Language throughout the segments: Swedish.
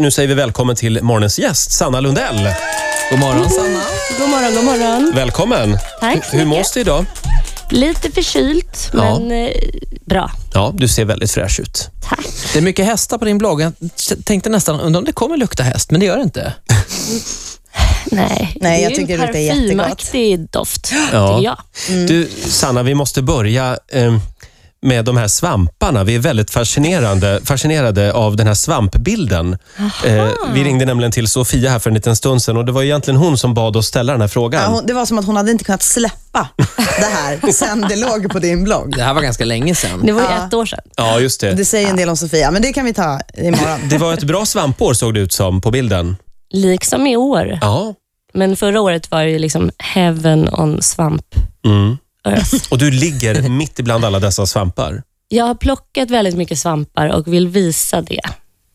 Nu säger vi välkommen till morgonens gäst, Sanna Lundell. God morgon Sanna. God morgon, god morgon. Välkommen! Tack så Hur mycket. mås du idag? Lite förkylt, Ja. men eh, bra. Ja, du ser väldigt fräsch ut. Tack. Det är mycket hästar på din blogg. Jag tänkte nästan, undrar om det kommer lukta häst, men det gör det inte. Nej, Nej, jag ju tycker det luktar jättegott. parfymaktig doft, tycker jag. Mm. Du, Sanna, vi måste börja eh, med de här svamparna. Vi är väldigt fascinerande, fascinerade av den här svampbilden. Eh, vi ringde nämligen till Sofia här för en liten stund sedan och det var egentligen hon som bad oss ställa den här frågan. Ja, hon, det var som att hon hade inte kunnat släppa det här sen det låg på din blogg. Det här var ganska länge sedan. Det var ju Ja. ett år sedan. Ja, just det. Det säger en del om Sofia, men det kan vi ta imorgon. Det var ett bra svampår såg det ut som på bilden. Liksom i år. Ja. Men förra året var ju liksom heaven on svamp. Mm. earth. Och du ligger mitt ibland alla dessa svampar. Jag har plockat väldigt mycket svampar och vill visa det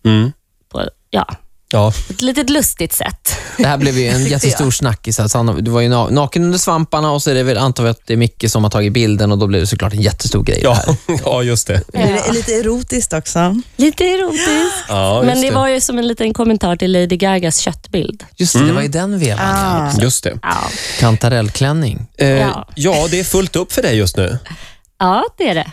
Mm. på ja, Ja, ett litet lustigt sätt. Det här blev ju en jättestor snackis. här. Sanna, du var ju na- naken under svamparna och så är det väl, antar vi att det är Micke som har tagit bilden och då blev det såklart en jättestor grej. ja, ja just det. Det är lite erotiskt också. Lite erotiskt, Ja, just men det var ju som en liten kommentar till Lady Gagas köttbild. Just det, det var ju den vevan. ja. Just det. Ja, Kantarellklänning. Eh, ja. Ja. det är fullt upp för dig just nu. ja det är det.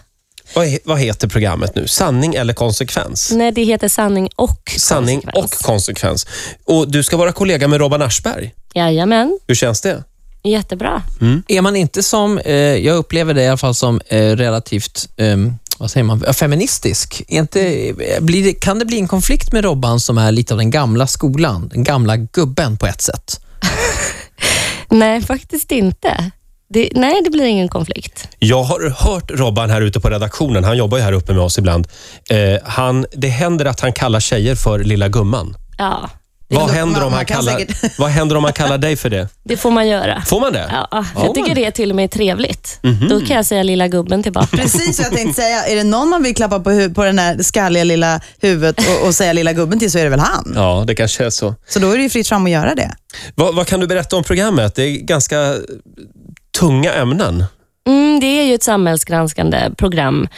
Vad, he- vad heter programmet nu? Sanning eller konsekvens? Nej, det heter sanning och Sanning och Mm, konsekvens. konsekvens. Och Du ska vara kollega med Robban Aschberg. Jajamän, Hur känns det? jättebra. Är man inte som, eh, jag upplever det i alla fall som eh, relativt ehm, vad säger man? Feministisk. Är inte, eh, blir det, kan det bli en konflikt med Robban som är lite av den gamla skolan, den gamla gubben på ett sätt? Nej, faktiskt inte. Det, nej, det blir ingen konflikt. Jag har hört Robban här ute på redaktionen. Han jobbar ju här uppe med oss ibland. Eh, han, det händer att han kallar tjejer för lilla gumman. Ja, Vad men då- händer, om man- han man kan kallar, säkert- vad händer om han kallar dig för det? det får man göra. Får man det? Ja, ah, Mhm. Ja, jag tycker det är till och med trevligt. Då kan jag säga lilla gubben tillbaka. Precis vad jag tänkte säga, är det någon man vill klappa på, hu- på den här skalliga lilla huvudet och, och säga lilla gubben till så är det väl han. Ja, det kanske är så. Så då är det ju fritt fram att göra det. Vad, vad kan du berätta om programmet? Det är ganska tunga ämnen. Mm, det är ju ett samhällsgranskande program.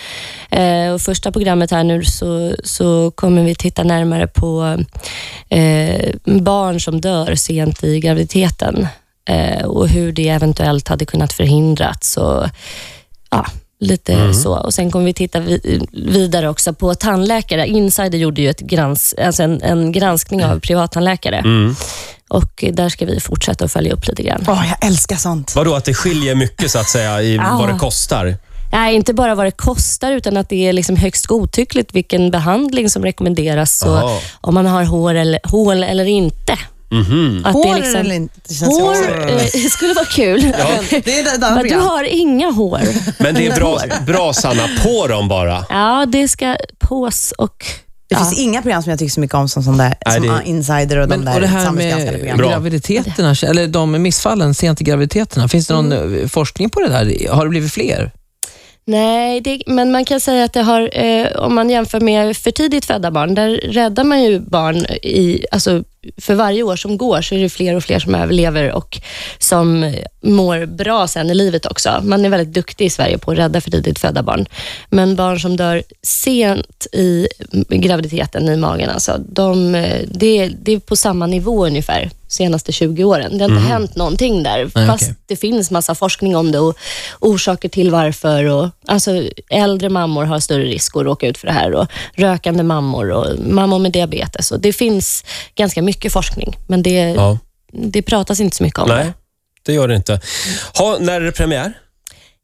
Eh, och första programmet här nu så, så kommer vi titta närmare på eh, barn som dör sent i graviditeten eh, och hur det eventuellt hade kunnat förhindrats. Och, ja, lite så. Och Sen kommer vi titta vi, vidare också på tandläkare. Insider gjorde ju ett grans, alltså en, en granskning av privattandläkare och där ska vi fortsätta att följa upp lite grann. Åh, jag älskar sånt. Vadå, att det skiljer mycket så att säga i Ja. vad det kostar? Nej, inte bara vad det kostar, utan att det är liksom högst godtyckligt vilken behandling som rekommenderas Jaha. och om man har hår eller, hål eller inte. Att Hår det är eller liksom, inte? Det känns Hår också- eh, skulle vara kul. Det är ett annat Men du program. har inga hår. Men det är bra, bra Sanna, på dem bara. Ja, det ska pås och... Det Ja. finns inga program som jag tycker så mycket om som, som, där, Nej, som det- ah, Insider och de Men, och det där här samhällsgranskande med programmen. Bra. graviditeterna, eller de missfallen sent i graviditeterna, finns det någon eh, forskning på det där? Har det blivit fler? Nej, det, men man kan säga att det har, eh, om man jämför med för tidigt födda barn, där räddar man ju barn i, alltså, för varje år som går så är det fler och fler som överlever och som eh, mår bra sen i livet också. Man är väldigt duktig i Sverige på att rädda för tidigt födda barn. Men barn som dör sent i graviditeten, i magen, alltså, de, eh, det, det är på samma nivå ungefär senaste 20 åren. Det har inte hänt någonting där, Nej, fast okej. det finns massa forskning om det och orsaker till varför. Och, alltså, äldre mammor har större risk att råka ut för det här och rökande mammor och mammor med diabetes. Och det finns ganska mycket forskning, men det, Ja. det pratas inte så mycket om Nej, det gör det inte. Ha, när är det premiär?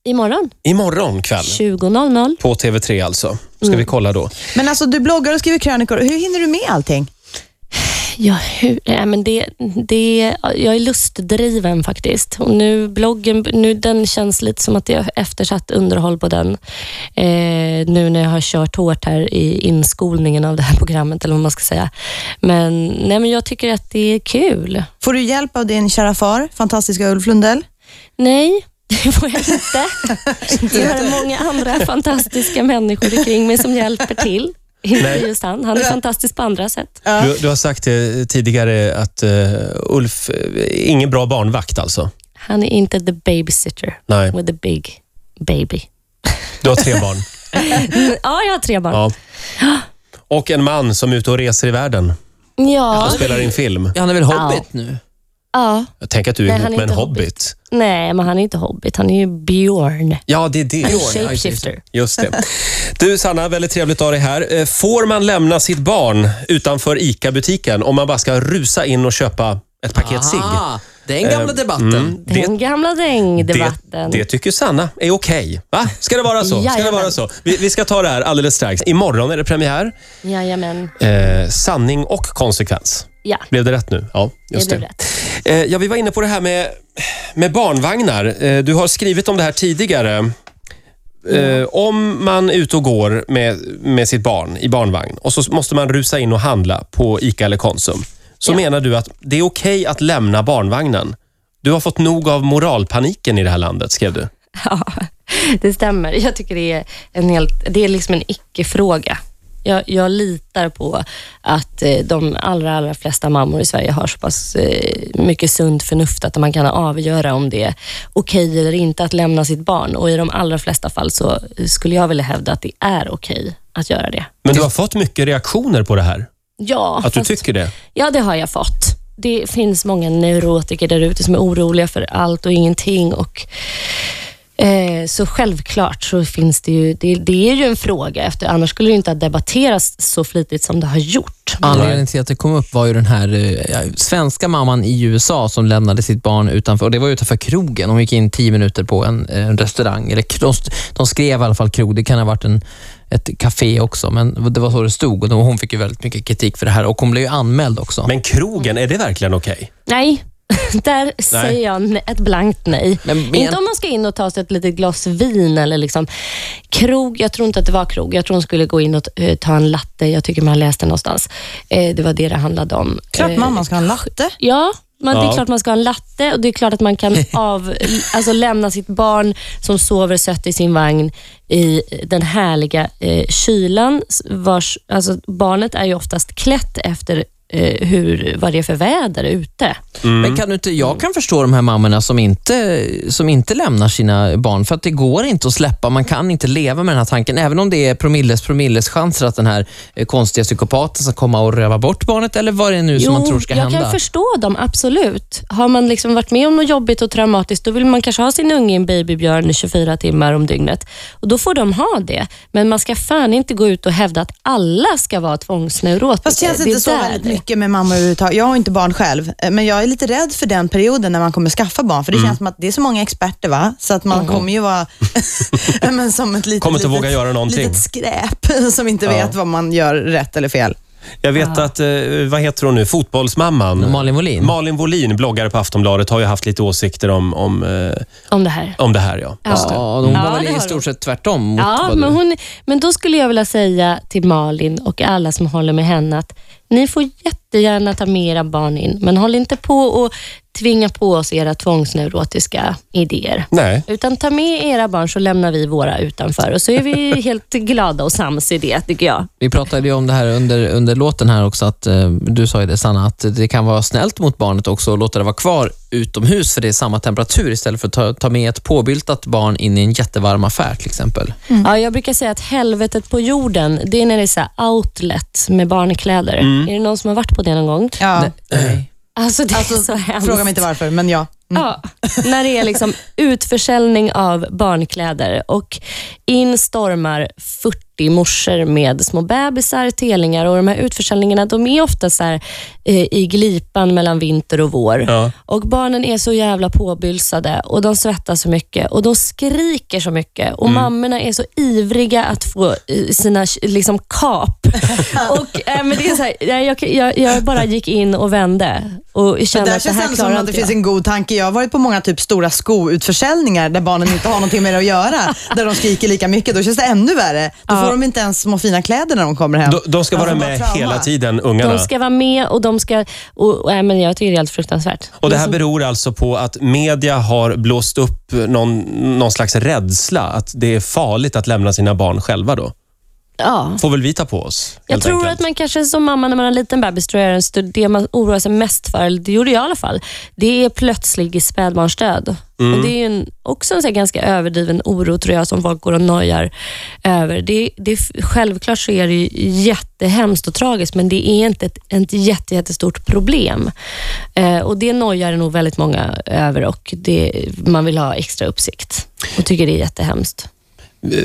det. Imorgon Imorgon kväll. 20.00. På TV3 alltså. Ska Mm. vi kolla då. Men alltså, du bloggar och skriver krönikor. Hur hinner du med allting? Ja, hur, nej, men det, det, jag är lustdriven faktiskt. Och nu bloggen, nu, den känns lite som att jag har eftersatt underhåll på den. Eh, nu när jag har kört hårt här i inskolningen av det här programmet, eller vad man ska säga. Men, nej, men jag tycker att det är kul. Får du hjälp av din kära far, fantastiska Ulf Lundell? Nej, det får jag inte. Jag har många andra fantastiska människor kring mig som hjälper till. Inte Nej. just han. Han är fantastisk på andra sätt. Du, du har sagt det tidigare att eh, Ulf, eh, ingen bra barnvakt alltså? Han är inte the babysitter Nej, with the big baby. du har tre barn. Ja, jag har tre barn. Ja. Och en man som är ute och reser i världen. Ja. och spelar in film. Ja, han är väl hobbit Ja. nu? ja. Jag tänker att du är Nej, ihop han är med en inte hobbit. Nej, men han är inte hobbit. Han är ju Björn. Ja, det är det. Han är Björn, ja, just det. shapeshifter. Just det. Du Sanna, väldigt trevligt att ha dig här. Eh, Får man lämna sitt barn utanför ICA-butiken om man bara ska rusa in och köpa ett paket cigg? Ah, Aha, den gamla debatten. mm. Den gamla Det, dängdebatten. det tycker Sanna är okej. Va? Ska det vara så? Ska det Jajamän. vara så? Vi, vi ska ta det här alldeles strax. Imorgon är det premiär. Jajamän. Eh, sanning och konsekvens. Ja, Blev det rätt nu? Ja, just det det. blev rätt. Eh, ja, vi var inne på det här med, med barnvagnar. Eh, du har skrivit om det här tidigare. Eh, om man är ute och går med, med sitt barn i barnvagn och så måste man rusa in och handla på ICA eller Konsum. Så Ja. menar du att det är okej att lämna barnvagnen. Du har fått nog av moralpaniken i det här landet, skrev du. Ja, det stämmer. Jag tycker det är en helt, det är liksom en icke-fråga. Jag, jag litar på att eh, de allra, allra flesta mammor i Sverige har så pass eh, mycket sunt förnuft att man kan avgöra om det är okej eller inte att lämna sitt barn. Och i de allra flesta fall så skulle jag vilja hävda att det är okej att göra det. Men du har fått mycket reaktioner på det här. Ja, Att du fast- tycker det. Ja, det har jag fått. Det finns många neurotiker där ute som är oroliga för allt och ingenting. Och, eh, så självklart så finns det ju, det, det är ju en fråga, efter, annars skulle det ju inte ha debatterats så flitigt som det har gjort. Anledningen till att det kom upp var ju den här eh, ja, svenska mamman i USA som lämnade sitt barn utanför, och det var utanför krogen. Hon gick in tio minuter på en, eh, en restaurang. Eller, k- de, st- de skrev i alla fall krog, det kan ha varit en, ett café också, men det var så det stod. Och då- hon fick ju väldigt mycket kritik för det här och hon blev ju anmäld också. Men krogen, är det verkligen okej? Nej, där säger jag ne- ett blankt nej. Men men- Inte om man ska in och ta sig ett litet glas vin eller liksom krog. Jag tror inte att det var krog. Jag tror hon skulle gå in och t- eh, ta en latte. Jag tycker man läste någonstans. Eh, det var det det handlade om. Klart Eh, mamma ska ha en latte. Ja, men det Ja. är klart man ska ha en latte och det är klart att man kan av, alltså lämna sitt barn som sover sött i sin vagn i den härliga eh, kylan. Vars, alltså barnet är ju oftast klätt efter eh, hur, vad det är för väder ute. Men kan du inte, jag kan förstå de här mammorna som inte, som inte lämnar sina barn, för att det går inte att släppa. Man kan inte leva med den här tanken, även om det är promilles promilles chanser att den här eh, konstiga psykopaten ska komma och röva bort barnet, eller vad det är nu som man tror ska jag hända. kan förstå dem, absolut. Har man liksom varit med om något jobbigt och traumatiskt, då vill man kanske ha sin unge i en babybjörn i 24 timmar om dygnet. Och Då får de ha det, men man ska fan inte gå ut och hävda att alla ska vara tvångsneurotiker. Fast känns det är inte så där väldigt eh, det- mycket med mamma överhuvudtaget. Jag har inte barn själv, eh, men jag är lite rädd för den perioden när man kommer skaffa barn, för det känns som att det är så många experter, va? så att man kommer ju vara Ja, men som ett litet, Kommer inte litet, våga göra någonting. litet skräp som inte Ja. vet vad man gör rätt eller fel. Jag vet att, eh, vad heter hon nu, fotbollsmamman? Malin Wollin? Malin Wollin, bloggare på Aftonbladet, har ju haft lite åsikter om, om, eh, Om det här. om det här. Ja. Just det. Ja, hon Ja, var det väl i har stort sett tvärtom mot Ja, vad men, du... hon, men då skulle jag vilja säga till Malin och alla som håller med henne att ni får jättegärna ta med era barn in, men håll inte på och tvinga på oss era tvångsneurotiska idéer. Nej. Utan ta med era barn så lämnar vi våra utanför och så är vi helt glada och sams i det tycker jag. Vi pratade ju om det här under, under låten här också, att eh, du sa ju det Sanna, att det kan vara snällt mot barnet också att låta det vara kvar utomhus för det är samma temperatur istället för att ta, ta med ett påbyltat barn in i en jättevarm affär till exempel. Mm. Ja, jag brukar säga att helvetet på jorden, det är när det är så här outlet med barnkläder. Är det någon som har varit på det någon gång? Mm. Ja. Alltså det är så Eh. Alltså, hemskt. fråga mig inte varför, men ja. Mm. Ja, när det är liksom utförsäljning av barnkläder och in stormar 40 morsor med små bebisar, telingar och de här utförsäljningarna de är ofta så här, eh, i glipan mellan vinter och vår. Ja. Och Barnen är så jävla påbylsade och de svettas så mycket och de skriker så mycket och Mm. mammorna är så ivriga att få eh, sina liksom, kap. och, eh, men det är så här, jag, jag, jag bara gick in och vände och kände Där att det känns det här ändå som klarar att det inte finns jag. en god tanke. Jag har varit på många typ stora skoutförsäljningar där barnen inte har någonting med det att göra, där de skriker lika mycket. Då känns det ännu värre. Då får de inte ens små fina kläder när de kommer hem. De, de ska vara Alltså, bara med trauma. hela tiden, ungarna. De ska vara med och de ska... Och, och, nej, men jag tycker det är helt fruktansvärt. Och Det här är så- beror alltså på att media har blåst upp någon, någon slags rädsla att det är farligt att lämna sina barn själva då. Ja. får väl vi ta på oss. Jag helt tror enkelt. att man kanske som mamma när man har en liten bebis, tror jag är det, det man oroar sig mest för, eller det gjorde jag i alla fall, det är plötslig spädbarnsdöd. Mm. Och det är ju en, också en så här ganska överdriven oro tror jag som folk går och nojar över. Det, det, självklart så är det ju jättehemskt och tragiskt, men det är inte ett, ett jätte, jättestort problem. Eh, och Det nojar nog väldigt många över och det, man vill ha extra uppsikt och tycker det är jättehemskt.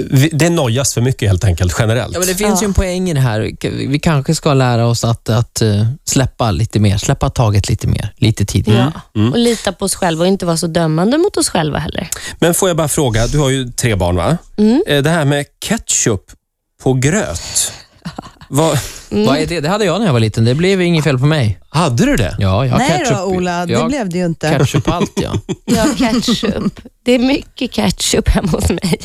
Vi- Det nojas för mycket helt enkelt, generellt. Ja, men det finns ju en poäng i det här. Vi kanske ska lära oss att, att eh, släppa lite mer, släppa taget lite mer, lite Mm. tidigare. Och lita på oss själva och inte vara så dömande mot oss själva heller. Men får jag bara fråga, du har ju tre barn va? Eh, Det här med ketchup på gröt. Vad, Mm. Vad är det? Det hade jag när jag var liten. Det blev inget fel på mig. hade du det? Ja, jag har Nej ketchup. då, Ola, det jag har blev det ju inte. Ketchup på allt, ja. Ja, ketchup. Det är mycket ketchup hemma hos mig.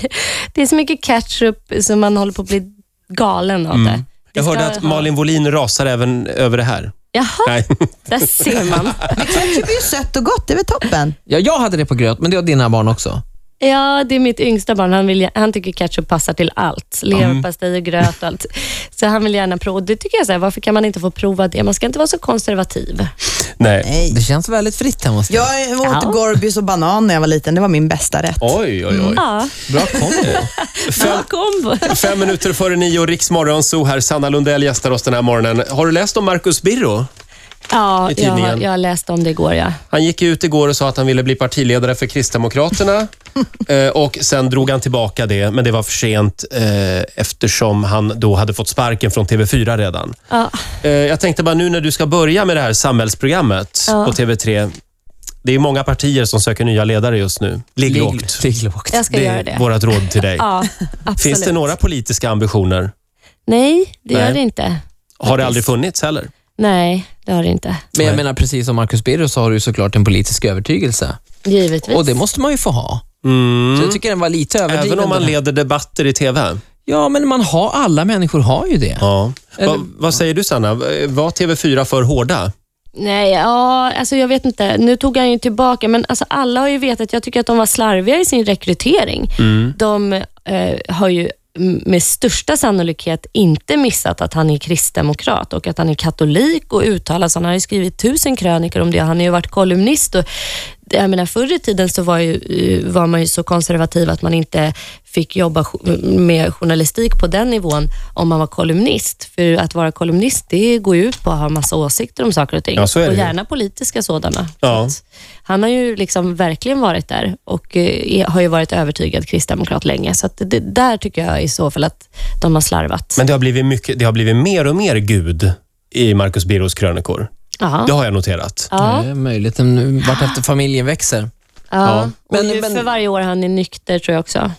Det är så mycket ketchup som man håller på att bli galen av det. Jag Det hörde ska att ha- Malin Wohlin rasar även över det här. Jaha, Nej. där ser man. Men ketchup är ju sött och gott, det är väl toppen? ja. Jag hade det på gröt, men det har dina barn också. Ja, det är mitt yngsta barn. Han, vill, han tycker ketchup passar till allt. Leverpastej och gröt och allt. Så han vill gärna prova. Det tycker jag, så här, varför kan man inte få prova det? Man ska inte vara så konservativ. Nej. Nej. Det känns väldigt fritt hemma hos dig. Jag åt gorbys och banan när jag var liten. Det var min bästa rätt. Oj, oj, oj. Ja, Bra kombo. bra kombo. Fem minuter före nio, Riksmorgon, så här. Sanna Lundell gästar oss den här morgonen. Har du läst om Marcus Birro? Ja, I jag, tidningen. jag läste om det igår. Ja. Han gick ut igår och sa att han ville bli partiledare för Kristdemokraterna. Eh, och Sen drog han tillbaka det, men det var för sent eh, eftersom han då hade fått sparken från TV4 redan. Ja. Eh, Jag tänkte bara nu när du ska börja med det här samhällsprogrammet på TV3. Det är många partier som söker nya ledare just nu. Ligg lågt. Ligg lågt. Jag ska Det göra är det. vårt råd till dig. Ja, absolut. Finns det några politiska ambitioner? Nej, det Nej. gör det inte. Har det aldrig funnits heller? Nej, det har det inte. Men jag Nej. menar, precis som Marcus Birro så har du ju såklart en politisk övertygelse. Givetvis. Och det måste man ju få ha. Så jag tycker den var lite överdriven. Mm. Även om man den här. leder debatter i TV? Ja, men man har, alla människor har ju det. Ja. Eller- Vad, vad säger du, Sanna? Var TV4 för hårda? Nej, ja, alltså jag vet inte. Nu tog han ju tillbaka, men alltså alla har ju vetat. Jag tycker att de var slarviga i sin rekrytering. De eh, har ju m- med största sannolikhet inte missat att han är kristdemokrat och att han är katolik och uttalar sig. Han har ju skrivit tusen krönikor om det. Han har ju varit kolumnist. Och, jag menar, förr i tiden så var, ju, eh, var man ju så konservativ att man inte fick jobba jo- med journalistik på den nivån om man var kolumnist. För att vara kolumnist, det går ju ut på att ha massa åsikter om saker och ting. Ja, så är det och ju. gärna politiska sådana. Ja. Så att Han har ju liksom verkligen varit där och eh, är- har ju varit övertygad kristdemokrat länge. Så att det där tycker jag i så fall att de har slarvat. Men det har blivit, mycket, det har blivit mer och mer Gud i Marcus Birros krönikor. Ja. Det har jag noterat. Ja, Det är möjligt, en- vartefter familjen växer. ja. Men- och ju men- för varje år han är nykter tror jag också.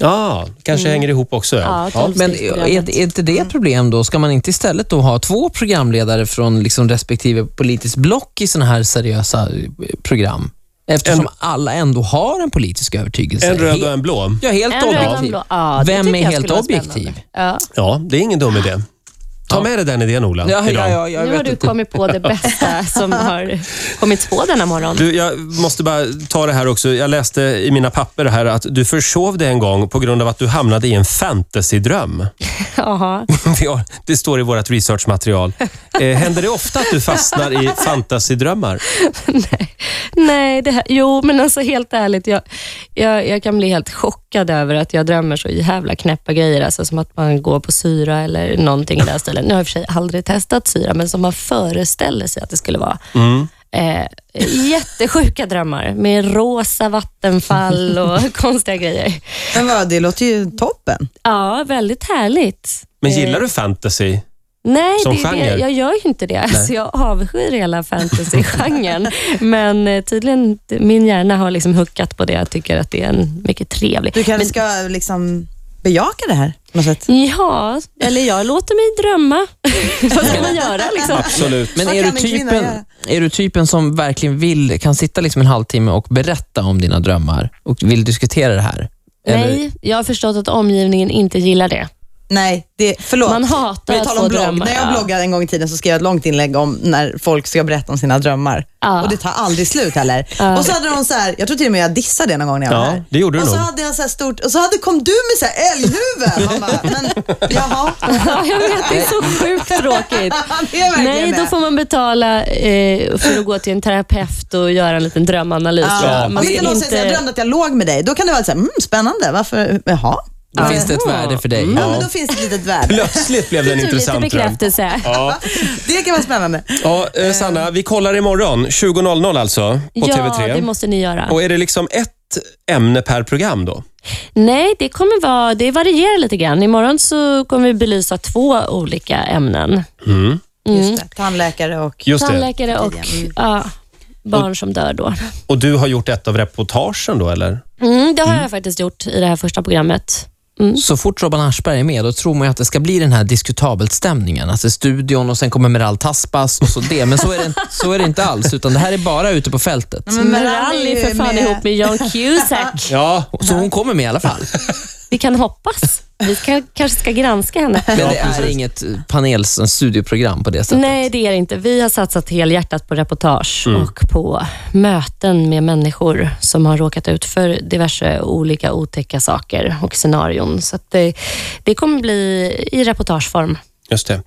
Ja, kanske hänger ihop också. Ja. Mm. Ja, Men tolvstegsprogrammet. är, är inte det ett problem då? Ska man inte istället då ha två programledare från liksom respektive politiskt block i såna här seriösa eh, program? Eftersom alla ändå har en politisk övertygelse. En röd och He- en blå. Ja, helt En röd och en objektiv. blå. Ja, det Vem tycker är jag helt skulle vara objektiv? spännande. Ja. Ja, det är ingen dum idé. Ta med dig den idén, Ola. Ja, ja, idag. ja, jag Nu har vet du inte. kommit på det bästa som har kommit på denna morgon. Du, jag måste bara ta det här också. Jag läste i mina papper här att du försov dig en gång på grund av att du hamnade i en fantasydröm. Jaha. Vi har- Det står i vårt researchmaterial. Eh, händer det ofta att du fastnar i fantasydrömmar? Nej, nej det här, jo men alltså helt ärligt, jag, jag, jag kan bli helt chockad över att jag drömmer så jävla knäppa grejer, alltså som att man går på syra eller någonting i den stilen. Nu har jag i och för sig aldrig testat syra, men som man föreställer sig att det skulle vara. Eh, jättesjuka drömmar med rosa vattenfall och konstiga grejer. Men vad, det låter ju toppen. Ja, väldigt härligt. Men gillar du fantasy? Nej, Som det, är genre? Det, jag gör ju inte det. Så jag avskyr hela fantasy-genren. Men eh, tydligen, min hjärna har liksom huckat på det. Jag tycker att det är en mycket trevlig. Du kanske ska liksom bejaka det här på något sätt. Ja, eller jag låter mig drömma. Vad ska man göra liksom? Absolut. Men Vad är du, kan en kvinna typen, göra? är du typen som verkligen vill, kan sitta liksom en halvtimme och berätta om dina drömmar och vill diskutera det här? Eller- Nej, jag har förstått att omgivningen inte gillar det. Nej, det, förlåt. Man hatar Vi att talar få om blogg. drömmar, När jag ja. bloggade en gång i tiden så skrev jag ett långt inlägg om när folk ska berätta om sina drömmar. Ja. Och det tar aldrig slut heller. Och så hade de så här, jag tror till och med jag dissade det någon gång när jag var Ja, här. det gjorde du och så nog. hade jag så här stort, och så hade, kom du med så här älghuvud. Man bara, men jaha. Ja, jag vet, det är så sjukt tråkigt. Det är verkligen Nej, då det. får man betala eh, för att gå till en terapeut och göra en liten drömanalys. tror jag. Ja. Man Om ska inte någon säger så här, jag drömde att jag låg med dig, då kan det vara så här, mm, spännande, varför, jaha? Då finns det ett värde för Mm. dig. Ja, men då finns det ett litet värde. Plötsligt blev det en Du, lite intressant dröm. bekräftelse. Det kan vara spännande. Ja, eh, Sanna, vi kollar imorgon. 20.00 alltså, på ja, TV3. det måste ni göra. Och är det liksom ett ämne per program då? Nej, det kommer vara, det varierar lite grann. Imorgon så kommer vi belysa två olika ämnen. Mm. Just det, tandläkare och... Just det. Tandläkare och mm. ja, barn som dör då. Och du har gjort ett av reportagen då, eller? Mm, det har jag faktiskt gjort i det här första programmet. Mm. Så fort Robban Aschberg är med, då tror man ju att det ska bli den här diskutabelt-stämningen. Alltså studion och sen kommer Meral Taspas och så det. Men så är det, så är det inte alls, utan det här är bara ute på fältet. Men Meral Meral är för fan med- ihop med John Cusack. Ja. Så hon kommer med i alla fall. Vi kan hoppas. Vi ska, kanske ska granska henne. Men det är inget panel, studioprogram på det sättet. Nej, det är det inte. Vi har satsat helhjärtat på reportage Mm. och på möten med människor som har råkat ut för diverse olika otäcka saker och scenarion. Så att det, det kommer bli i reportageform. Just det.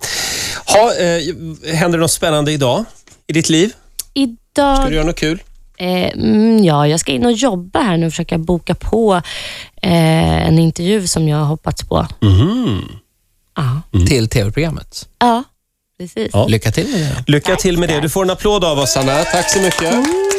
Ha, eh, händer det något spännande idag i ditt liv? Ska Idag... du göra något kul? Eh, mm, ja, jag ska in och jobba här nu och försöka boka på eh, en intervju som jag har hoppats på. Mm. Ja. Till tv-programmet. ja, precis. Ja. Lycka till med det. Lycka till med det. Du får en applåd av oss, Sanna. Tack så mycket.